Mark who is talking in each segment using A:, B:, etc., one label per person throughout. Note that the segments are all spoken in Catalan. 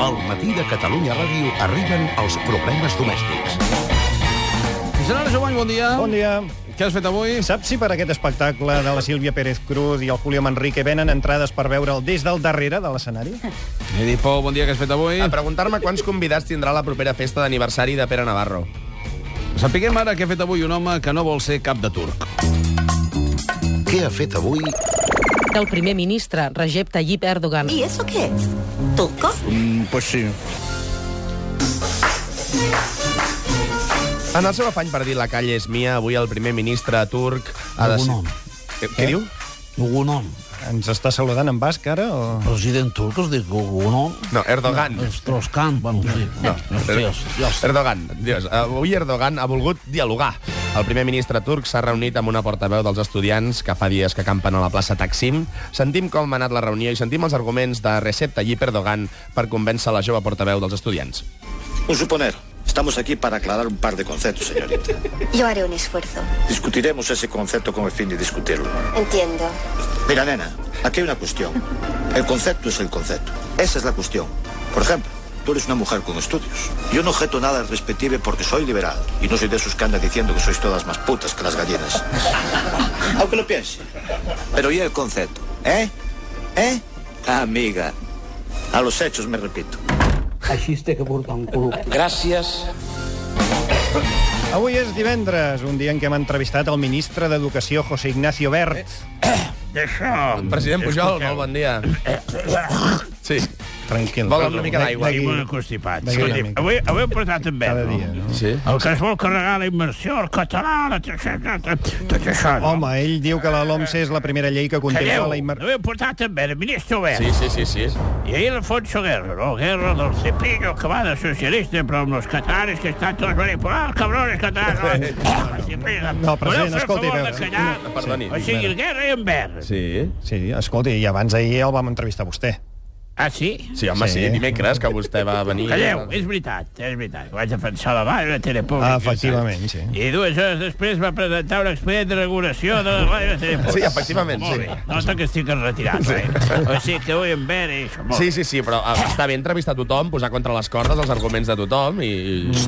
A: Al matí de Catalunya Ràdio arriben els problemes domèstics.
B: Gerard Jovany, bon dia.
C: Bon dia.
B: Què has fet avui?
C: Saps si per aquest espectacle de la Sílvia Pérez Cruz i el Julio Manrique venen entrades per veure'l des del darrere de l'escenari?
B: Edi Pou, bon dia, què has fet avui?
D: A preguntar-me quants convidats tindrà la propera festa d'aniversari de Pere Navarro.
B: Sapiguem ara què ha fet avui un home que no vol ser cap de turc.
A: Què ha fet avui
E: del primer ministre Recep Tayyip Erdogan.
F: ¿Y eso qué es? ¿Turco?
D: En el seu afany per dir la calle és mia, avui el primer ministre turc ha de ser...
G: Algun home.
D: Eh, Què diu?
G: Gugunom.
C: Ens està saludant en basc, ara? O...
G: President turc es diu Gugunom.
D: No, Erdogan.
G: Els Troscan, bueno, sí.
D: No,
G: Dios, Dios.
D: Erdogan. Dios. Avui Erdogan ha volgut dialogar. El primer ministre turc s'ha reunit amb una portaveu dels estudiants que fa dies que campen a la plaça Taksim. Sentim com ha anat la reunió i sentim els arguments de Recep Tayyip Erdogan per convèncer la jove portaveu dels estudiants.
H: Un suponer. Estamos aquí para aclarar un par de conceptos, señorita.
I: Yo haré un esfuerzo.
H: Discutiremos ese concepto con el fin de discutirlo.
I: Entiendo.
H: Mira, nena, aquí hay una cuestión. El concepto es el concepto. Esa es la cuestión. Por ejemplo, tú eres una mujer con estudios. Yo no objeto nada al respectivo porque soy liberal. Y no soy de esos que andan diciendo que sois todas más putas que las gallinas. Aunque lo piense. Pero ¿y el concepto? ¿Eh? ¿Eh? Amiga. A los hechos me repito.
G: Així es té que portar un cul.
C: Avui és divendres, un dia en què hem entrevistat el ministre d'Educació, José Ignacio Bert.
D: Eh? President Pujol, molt bon dia. Sí.
C: Tranquil.
D: Vol una mica d'aigua.
C: Begui-
J: Estic molt constipat.
C: Begui una
J: Escolti,
C: mica.
J: avui, avui hem portat en
C: Cada
J: verd.
C: dia, no?
D: Sí.
J: El que es vol carregar la immersió, el català, la... tot això, no?
C: Home, ell diu que la LOMCE és la primera llei que contempla
J: Calleu,
C: la immersió...
J: avui hem portat en verd, el ministre obert.
D: Sí, sí, sí, sí.
J: I ahir Alfonso Guerra, no? Guerra del cepillo que va de socialista, però amb els catalanes que estan tots manipulats, cabrones catalanes. No, Ah,
C: No, president, escolti, a
J: Voleu
C: veure,
J: fer el favor de callar?
D: no, eh, perdoni,
J: O sigui, el Guerra i en verd.
D: Sí.
C: Sí, escolti, i abans ahir el vam entrevistar a vostè.
J: Ah, sí?
D: Sí, home, sí.
C: Sí.
D: Dimecres que vostè va venir...
J: Calleu, és veritat, és veritat. Vaig defensar la mare de Telepública.
C: Ah, efectivament, sí.
J: I dues hores després va presentar un expedient de regulació de la ràdio de Telepública.
D: Sí, efectivament,
J: Molt
D: sí.
J: bé. Nota que estic retirat, sí. eh? O sigui que avui em ve i això. Molt
D: Sí, sí, sí, però eh, està bé entrevistar tothom, posar contra les cordes els arguments de tothom i...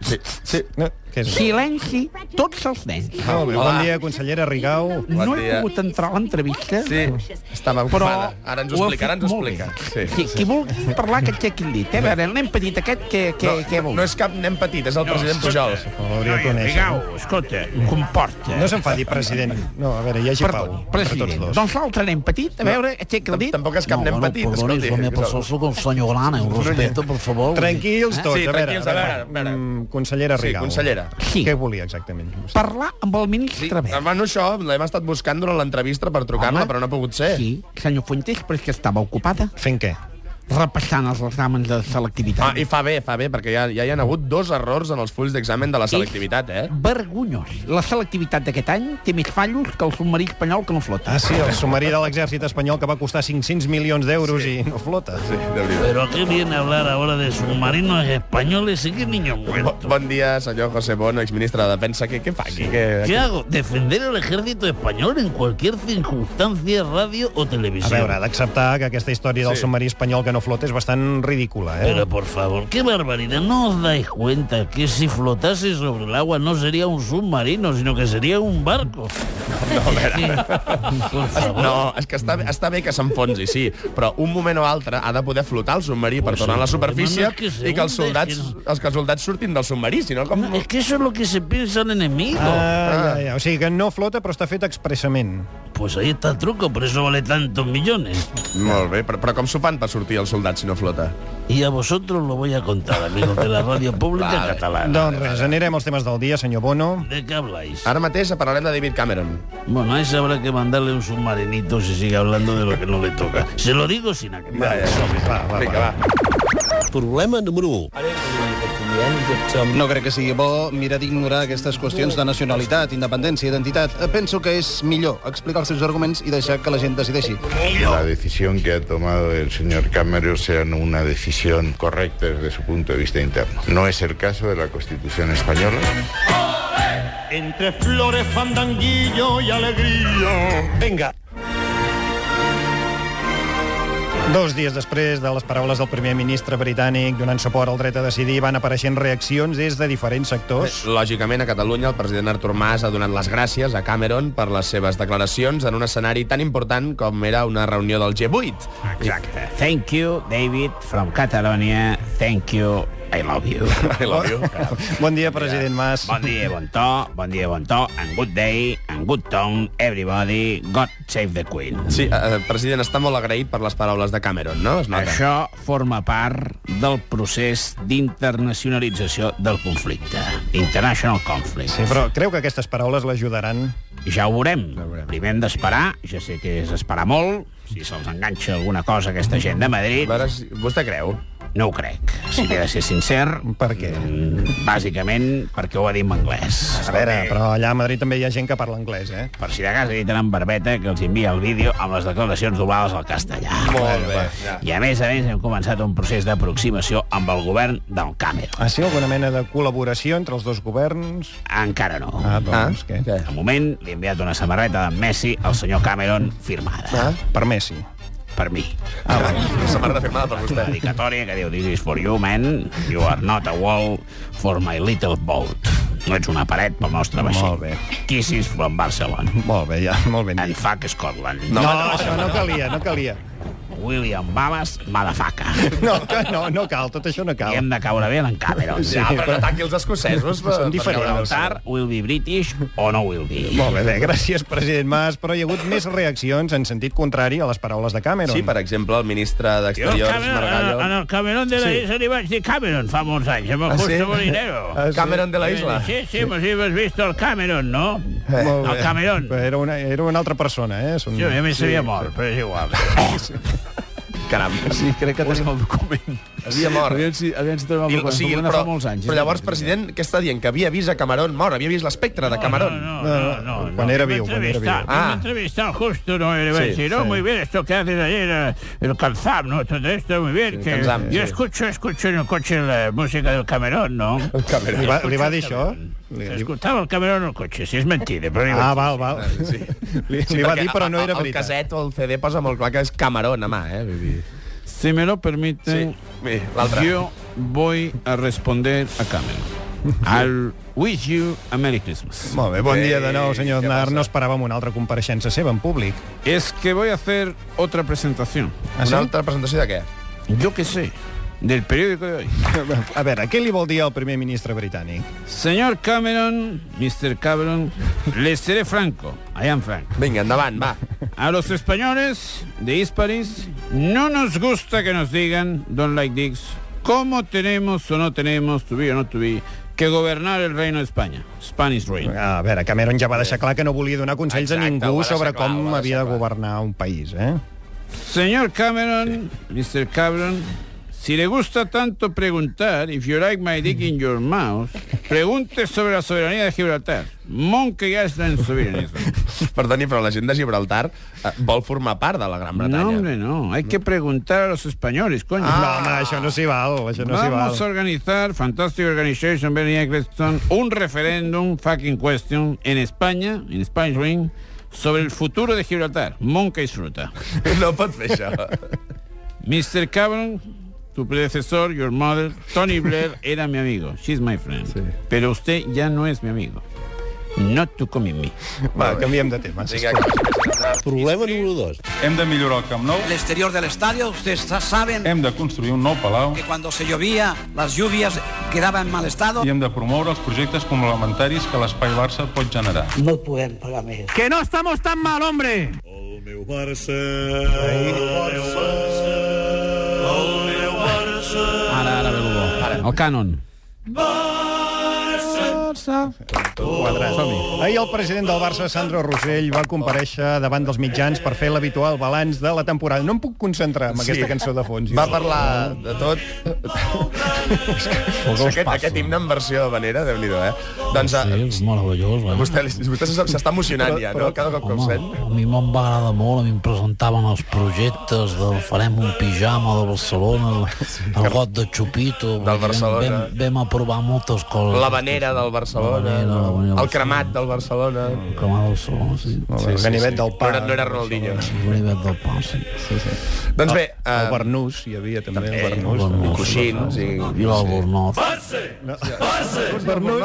D: Sí, sí.
C: No, què és?
G: Silenci, tots els nens.
C: Molt bé,
D: Hola.
C: bon dia, consellera Rigau.
D: Bon
G: no
D: dia.
G: he pogut entrar a l'entrevista.
D: Sí, estava
G: Però
D: ocupada. Ara ens ho
G: ho ha
D: explicarà,
G: fet
D: ens ho
G: molt
D: explica.
G: bé.
D: Sí.
G: Qui, qui vulgui parlar, que aixequi el dit. Eh? A veure, el nen petit aquest, què, què, què
D: No,
G: vol?
D: no és cap nen petit, és el president Pujol.
C: Oh, l'hauria de
J: Noia,
C: conèixer.
J: Rigau, escolta, comporta.
C: No s'enfadi, president. No, a veure, hi hagi pau. entre
G: president.
C: tots dos.
G: Doncs l'altre nen petit, a veure, aixeca el dit.
D: Tampoc és cap nen petit, escolti.
G: sóc un senyor gran, eh? un respecte, per favor. eh?
C: Tranquils tots,
D: Sí,
C: a veure.
D: tranquils,
C: a veure.
D: a veure, a veure.
C: Mm, consellera
D: Sí,
C: Rigau.
D: consellera.
G: Sí.
C: Què volia exactament?
G: Parlar amb el ministre Bert.
D: Bueno, això l'hem estat buscant durant l'entrevista per trucar-la,
G: Home.
D: però no ha pogut ser.
G: Sí, senyor Fuentes, però és que estava ocupada
C: Fent què?
G: repassant els exàmens de
D: Ah,
G: selectivitat.
D: i fa bé, fa bé, perquè ja, ja hi han hagut dos errors en els fulls d'examen de la selectivitat, eh?
G: Vergonyós. La selectivitat d'aquest any té més fallos que el submarí espanyol que no flota.
C: Ah, sí, el submarí de l'exèrcit espanyol que va costar 500 milions d'euros i no flota. Sí.
D: De veritat.
J: Pero qué viene a hablar ahora de submarinos españoles y qué niño
D: Bo-
J: muerto.
D: Bon dia, senyor José Bono, exministre de Defensa. Què, què fa aquí? Què,
J: ¿Qué hago? ¿Defender el ejército español en cualquier circunstancia, radio o
C: A
J: televisión?
C: veure, ha d'acceptar que aquesta història del
D: Sí.
C: submarí espanyol que no flota és bastant ridícula, eh?
J: Pero por favor, qué barbaridad. ¿No os dais cuenta que si flotase sobre el agua no sería un submarino, sino que sería un barco? No, Por favor.
D: No, és que està, bé- està bé que s'enfonsi, sí, però un moment o altre ha de poder flotar el submarí per tornar a la superfície
J: no, no, és que se
D: i que els
J: hunde,
D: soldats,
J: és que
D: els que els soldats surtin del submarí, si no com...
J: No, es que eso es lo que se piensa el enemigo.
C: Ah, ja, ja. O sigui que no flota, però està fet expressament.
J: Pues ahí está el truco, por eso vale tantos millones.
D: Molt bé, però, però com s'ho fan per sortir els soldats si no flota?
J: Y a vosotros lo voy a contar, amigos de la radio pública
D: Vale.
J: catalana.
C: Doncs res, anirem als temes del dia, senyor Bono.
J: ¿De qué habláis?
D: Ara mateix parlarem de David Cameron.
J: Bueno, a ese habrá que mandarle un submarinito si sigue hablando de lo que no le toca. Se lo digo sin acabar.
C: Va, va, va.
D: Eh, Vinga, va.
A: Problema número 1.
K: Ah, No crec que sigui bo mirar d'ignorar aquestes qüestions de nacionalitat, independència, identitat. Penso que és millor explicar els seus arguments i deixar que la gent decideixi.
H: La decisión que ha tomado el señor Cameron sea una decisión correcta desde su punto de vista interno. No es el caso de la Constitución española.
J: Entre flores, fandanguillo y alegría.
C: Vinga. Dos dies després de les paraules del primer ministre britànic donant suport al dret a decidir, van apareixent reaccions des de diferents sectors.
D: Lògicament, a Catalunya, el president Artur Mas ha donat les gràcies a Cameron per les seves declaracions en un escenari tan important com era una reunió del G8.
J: Exacte. Thank you, David, from Catalonia. Thank you, I love you. I love you.
C: Bon dia, president Mas.
J: Bon dia, bon to, bon dia, bon to, and good day, and good tone, everybody, God save the Queen.
D: Sí, eh, president, està molt agraït per les paraules de Cameron, no? Es nota.
J: Això forma part del procés d'internacionalització del conflicte. International conflict.
C: Sí, però creu que aquestes paraules l'ajudaran?
J: Ja ho veurem. Ja ho veurem. Primer hem d'esperar, ja sé que és esperar molt, si se'ls enganxa alguna cosa a aquesta gent de
D: A
J: Madrid,
D: veure, si- vostè creu?
J: no ho crec. Si he de ser sincer,
C: Per què?
J: mm, bàsicament perquè ho va dir en anglès.
C: A veure, però allà a Madrid també hi ha gent que parla anglès, eh?
J: Per si de cas editen en barbeta que els envia el vídeo amb les declaracions doblades al castellà.
D: Molt bé.
J: I a més a més hem començat un procés d'aproximació amb el govern del Cameron.
C: Ah, sí? Alguna mena de col·laboració entre els dos governs?
J: Encara no.
C: Ah, doncs,
D: Ah.
C: què?
D: Què?
J: De moment, li he enviat una samarreta d'en Messi al senyor Cameron firmada.
C: Ah, per Messi.
J: Per mi.
D: Ah, va. Samarreta firmada per
J: Una
D: vostè.
J: dedicatòria que diu This is for you, man. You are not a wall for my little boat. No ets una paret pel nostre vaixell.
C: Molt bé.
J: Kisses from Barcelona.
C: Molt bé, ja, molt ben
J: And
C: dit.
J: fuck Scotland.
C: No, no, això no calia, no calia.
J: William Ballas, madafaca.
C: No, que no, no cal, tot això no
J: I
C: cal.
J: hem de caure bé en Cameron.
D: Ja, Ah, però no taqui els escocesos. per-
C: Són
D: per
C: diferents.
D: caure al
J: Gibraltar will be British o no will be.
C: Molt bé, bé, gràcies, president Mas, però hi ha hagut més reaccions en sentit contrari a les paraules de Cameron.
D: Sí, per exemple, el ministre
J: Jo el
D: d'Exteriors,
J: Cameron, ah, en
D: Margallo.
J: el Cameron de la sí. Isla li vaig dir Cameron fa molts anys, amb el
D: Ah, sí?
J: Justo Molinero.
C: Ah, sí?
D: Cameron de la Isla.
J: Sí, sí, mas sí, has visto el Cameron, no?
C: Eh. Molt bé.
J: El Cameron.
C: Però Era una, era una altra persona, eh? Són...
J: Sí, a mi s'havia mort, però és igual.
D: Caram.
G: Sí, crec que tenim el document.
D: Havia mort.
G: Aviam si, aviam si tenim el
D: I,
G: document.
D: o sigui,
G: Document de
D: però,
G: fa molts anys. eh?
C: eh,
D: però llavors, president, què està dient? Que havia vist a Cameron mort, havia vist l'espectre de Cameron.
J: No, no, no. no,
C: Quan
J: no.
C: era
J: Me
C: viu, quan era
J: entrevista-
C: viu.
J: me
D: Ah.
J: entrevista al Justo, no, le iba a
D: Sí,
J: decir, no, muy bien, esto que haces ayer, eh, el Calzam, no, todo esto, muy bien.
D: El
J: que
D: Calzam,
J: yo
D: sí.
J: escucho, escucho en el coche la música del Camerón, ¿no?
C: Li va, li va dir això? Li, li...
J: Escoltava el Camerón en el coche, si és mentida, però... li vaig
C: Ah,
J: dir.
C: val, val. Sí. Li, li va
D: perquè
C: dir, però no
D: a- a-
C: era
D: El
C: veritat.
D: caset o el CD posa molt clar que és Cameron, home, eh? Vull dir-
G: Si me lo permiten,
D: Sí, l'altre.
G: yo voy a responder a Cameron. I'll wish you a Merry Christmas.
C: Molt bé, bon dia de nou,
D: Ei,
C: senyor
D: què
C: Aznar.
D: passa?
C: No esperàvem una altra compareixença seva en públic.
G: Es que voy a hacer otra presentación.
C: Ah, sí?
D: Una altra presentació de què?
G: Yo qué sé, del periódico de hoy.
C: A veure, què li vol dir al primer ministre britànic?
G: Señor Cameron, Mr. Cameron, les seré franco. I am frank.
D: Vinga, endavant, va.
G: A los españoles de Hispalis no nos gusta que nos digan, don't like dicks, cómo tenemos o no tenemos, to be o no to be, que gobernar el reino de España. Spanish reign.
C: A veure, Cameron ja va deixar clar que no volia donar consells
D: Exacte,
C: a
D: ho
C: ningú
D: va deixar
C: sobre
D: clar, ho
C: com
D: va
C: havia
D: deixar
C: de
D: clar.
C: governar un país, eh?
G: Señor Cameron, Mr. Cameron, si le gusta tanto preguntar, if you like my dick in your mouth, pregunte sobre la soberanía de Gibraltar. Monkey Island sovereignty.
D: Perdoni, però la gent de Gibraltar eh, vol formar part de la Gran Bretanya.
G: No, hombre, no. Hay que preguntar a los españoles, coño.
H: Ah,
D: Ah.
C: No, home, això no s'hi val, això no s'hi val.
G: Vamos a organizar, Fantastic Organization, Bernie Eccleston, un referéndum, fucking question, en España, en Spanish Ring, sobre el futuro de Gibraltar. Monca y fruta.
D: no pot fer això.
G: Mr. Cameron, tu predecesor, your mother, Tony Blair, era mi amigo. She's my friend. Pero usted ya no es mi amigo. Not to come in me.
C: Va, canviem de tema.
D: Vinga, que-
L: Problema número 2.
H: Hem de millorar el Camp Nou.
J: El exterior del estadio, ustedes saben
H: Hem de construir un nou palau
J: que cuando se llovía, las lluvias quedaban en mal estado.
H: i hem de promoure els projectes complementaris que l'espai Barça pot generar.
J: Que no estamos tan mal, hombre.
G: Ara, ara ve el bo. El cànon.
C: Ahir el president del Barça, Sandro Rosell, va compareixer davant dels mitjans per fer l'habitual balanç de la temporada. No em puc concentrar en aquesta cançó de fons.
D: Va parlar de tot. aquest, aquest himne en versió de Vanera, déu nhi -do, eh? Doncs
M: Sí,
D: eh,
M: és meravellós, eh?
D: vostè, vostè s'està- s'està emocionant ja, no? Cada cop que ho
M: Home,
D: sent.
M: a mi me'n va agradar molt, a mi em presentaven els projectes del Farem un pijama de Barcelona, el, el got de Xupito...
D: Del Barcelona.
M: Vam, vam aprovar moltes coses.
D: La Vanera del Barcelona, no, no, no, el cremat del Barcelona. El
J: cremat del Barcelona, sí.
D: sí, sí,
C: Ganivet
D: sí.
C: del Pa.
D: No era, no era Ronaldinho.
J: Ganivet del Pa, sí.
C: sí, sí.
D: Doncs bé,
C: El, el Bernús, hi havia també, Ah. també el Bernús.
D: Bernús. Coixins i-
J: I l'Albornoz.
C: No. Bernús, Bernús.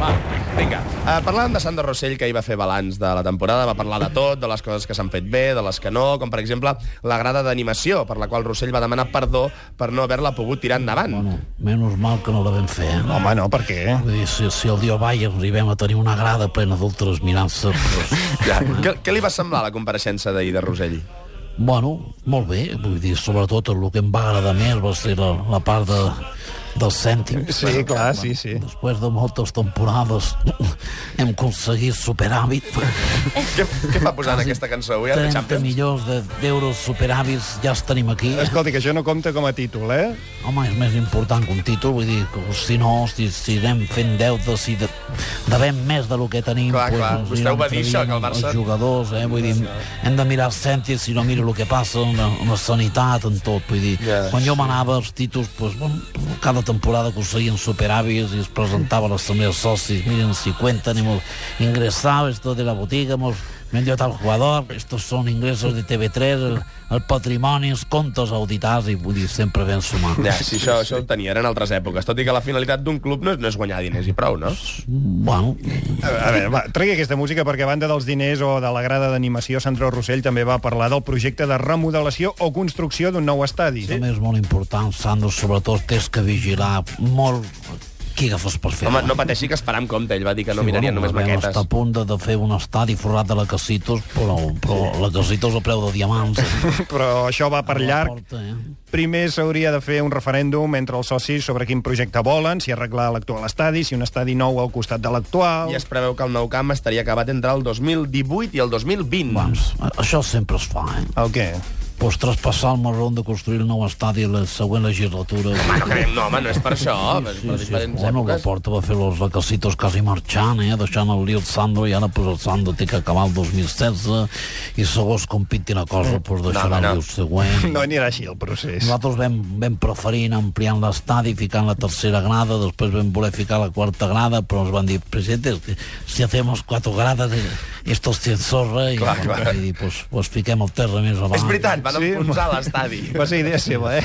D: Va, vinga. Uh, parlàvem de Sandro Rossell, que ahir va fer balanç de la temporada, va parlar de tot, de les coses que s'han fet bé, de les que no, com per exemple la grada d'animació, per la qual Rossell va demanar perdó per no haver-la pogut tirar endavant. Bueno.
J: Menys mal que no la vam fer, eh?
C: Home, no, per què?
J: Vull dir, si, si el dia vaig arribem a tenir una grada plena d'altres mirant-se... Doncs,
D: Ja. Què, què li va semblar la compareixença d'ahir de Rossell?
J: bueno, molt bé, vull dir, sobretot el que em va agradar més va ser la, la part de, eh, dels cèntims.
C: Sí, clar, sí, sí.
J: Després de moltes temporades hem aconseguit superàvit.
D: què, què fa posant aquesta cançó avui? ara,
J: 30
D: Champions?
J: milions de- d'euros superàvits ja els tenim aquí.
C: Escolti, que això no compta com a títol, eh?
J: Home, és més important que un títol, vull dir, que si no, si, si anem fent deute, si de, devem més de lo que tenim...
D: Clar, clar.
J: ens
D: Vostè ho va dir, això, que el
J: entrevien
D: Barça-
J: Els jugadors, eh? vull dir, hem de mirar els cèntims, si no miro el que passa en la, en la sanitat, en tot, vull dir,
D: Ja.
J: quan jo manava els títols, doncs, bueno, cada temporada aconseguien superàvies i es presentava a l'assemblea de socis, miren, si cuenten, hemos ingresado esto de la botiga, hemos vendido tal jugador, estos son ingresos de TV3, el, el patrimoni, els comptes auditats, i vull dir, sempre ben sumar.
D: Ja, sí, això, això ho tenia, eren altres èpoques. Tot i que la finalitat d'un club no és, no és guanyar diners i prou, no?
J: Bueno,
C: A a veure, va, tregui aquesta música perquè a banda dels diners o de la grada d'animació, Sandro Rossell també va parlar del projecte de remodelació o construcció d'un nou estadi.
J: sí. també és molt important, Sandro, sobretot tens que vigilar molt qui agafes per fer
D: Home, no pateixi que es farà amb compte. Ell va dir que no
J: Sí,
D: mirarien només
J: vam
D: maquetes.
J: estar a punt de, de fer un estadi forrat de la Casitos, però, però la Casitos a preu de diamants. eh,
C: Però això va per llarg.
J: Porta, eh?
C: Primer s'hauria de fer un referèndum entre els socis sobre quin projecte volen, si arreglar l'actual estadi, si un estadi nou al costat de l'actual...
D: I es preveu que el nou camp estaria acabat entre el 2018 i el 2020.
J: Vamos, a- Doncs, eh, això sempre es fa, eh?
C: El què?
J: Pots traspassar el marrón de construir el nou estadi a la següent legislatura.
D: Home, no, creiem, no, home, no és per això. Sí, sí, per
J: Sí, sí,
D: diferents
J: bueno, la
D: èpoques.
J: porta va fer los lacacitos quasi marxant, eh? deixant el Lil Sandro, i ara pues, el Sandro té que acabar el 2016 i segons com pinti la cosa pues, deixarà
D: no.
J: no, no. el següent.
C: No anirà així el procés.
J: Nosaltres vam, vam preferir anar ampliant l'estadi, ficant la tercera grada, després vam voler ficar la quarta grada, però ens van dir, presidente, es que si hacemos cuatro gradas, eh, esto se enzorra, i,
D: Clar,
J: bueno,
D: clar.
J: i dir, pues, pues fiquem el terra més avall.
D: És veritat, van
C: Sí.
D: enfonsar l'estadi.
C: Va ser idea seva, eh?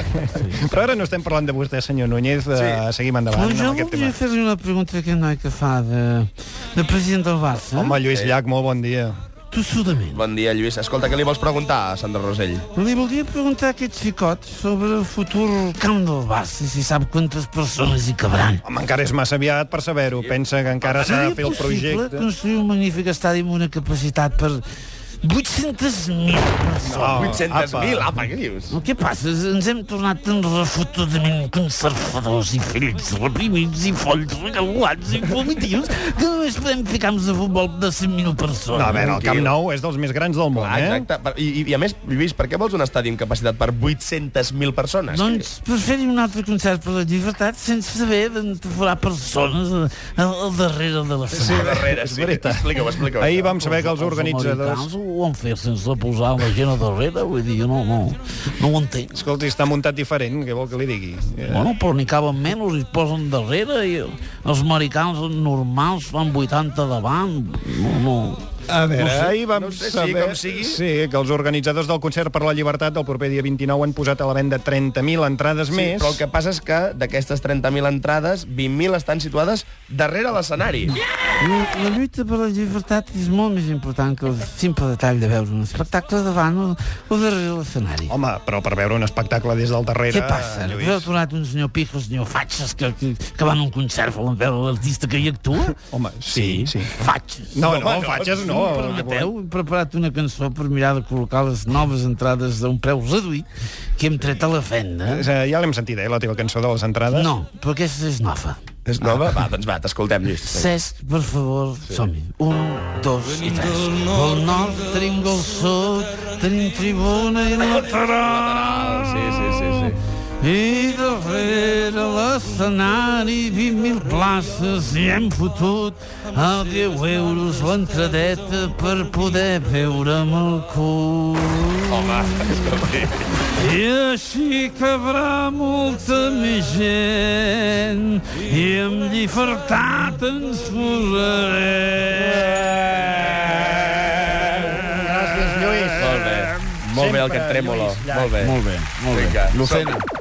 C: Però ara no estem parlant de vostè, senyor Núñez. Eh, Seguim endavant amb aquest tema.
G: fer-li una pregunta que no he que fa de, de president del Barça.
C: Home, Lluís Llach, molt bon dia.
G: Tossudament.
D: Bon dia, Lluís. Escolta, què li vols preguntar a Sandra Rosell?
C: Oh,
G: Li voldria preguntar a aquest xicot sobre el futur camp del Barça, si sap quantes persones hi cabran.
C: Home, encara és massa aviat per saber-ho. Pensa que encara s'ha de fer el projecte.
G: construir un magnífic estadi amb una capacitat per 800.000 persones?
D: 800.000, apa, què dius?
G: El que passa és ens hem tornat tan refotudament conservadors i fills reprimits i folls regalats i primitius que només podem fer camps de futbol de 100.000 persones.
C: No, a veure, el Camp Nou és dels més grans del món,
D: Ah,
C: eh?
D: exacte. Per- I, i- I a més, Lluís, per què vols un estadi amb capacitat per 800.000 persones?
G: Doncs per fer-hi un altre concert per la llibertat sense saber d'entoforar persones al, al darrere de la
D: Sí,
G: setmana.
D: darrere, sí. Explica-ho, explica-ho.
C: Ahir vam saber que els
J: americans
C: organitzadors...
J: ho han fet sense posar la gent a darrere, vull dir, jo no, no, no ho entenc.
C: Escolti, està muntat diferent, què vol que li digui? Eh,
J: Bueno, però n'hi caben menys, i es posen darrere, i els americans normals fan 80 davant. No, no.
C: A veure, ahir vam
D: no sé, sigui
C: saber
D: com sigui.
C: sí, que els organitzadors del Concert per la Llibertat del proper dia 29 han posat a la venda 30.000 entrades
D: Sí,
C: més.
D: però el que passa és que d'aquestes 30.000 entrades, 20.000 estan situades darrere l'escenari.
G: La, la lluita per la llibertat és molt més important que el simple detall de veure un espectacle davant o, o darrere l'escenari.
C: Home, però per veure un espectacle des del darrere...
G: Què passa?
C: Lluís.
G: Heu tornat un senyor pijo, un senyor fatxes, que, que, que van a un concert, volen veure l'artista que hi actua?
C: Home, sí, sí.
G: Fatxes.
C: No, no, fatxes no.
G: Em Permeteu, he preparat una cançó per mirar de col·locar les noves entrades d'un preu reduït um que hem tret a la fenda.
C: Eh, Ja l'hem sentit, eh, la teva cançó de les entrades.
G: No, però aquesta és é nova.
D: És nova? Va, doncs va, t'escoltem, Lluís.
G: Cesc, per favor, sí. som-hi. Un, dos i tres. Del nord tenim del sud, tenim tribuna i lateral.
D: Sí, sí, sí, sí.
G: I darrere la l'escenari 20.000 places i hem fotut a 10 euros l'entradeta per poder veure'm el cul. Home, I així cabrà molta més gent i amb llibertat ens posarem.
C: Gràcies, Lluís.
D: Molt bé, el que et trèmolo. Molt bé.
B: Molt bé, molt bé.
D: Vinga.
B: Lucena.
D: Som-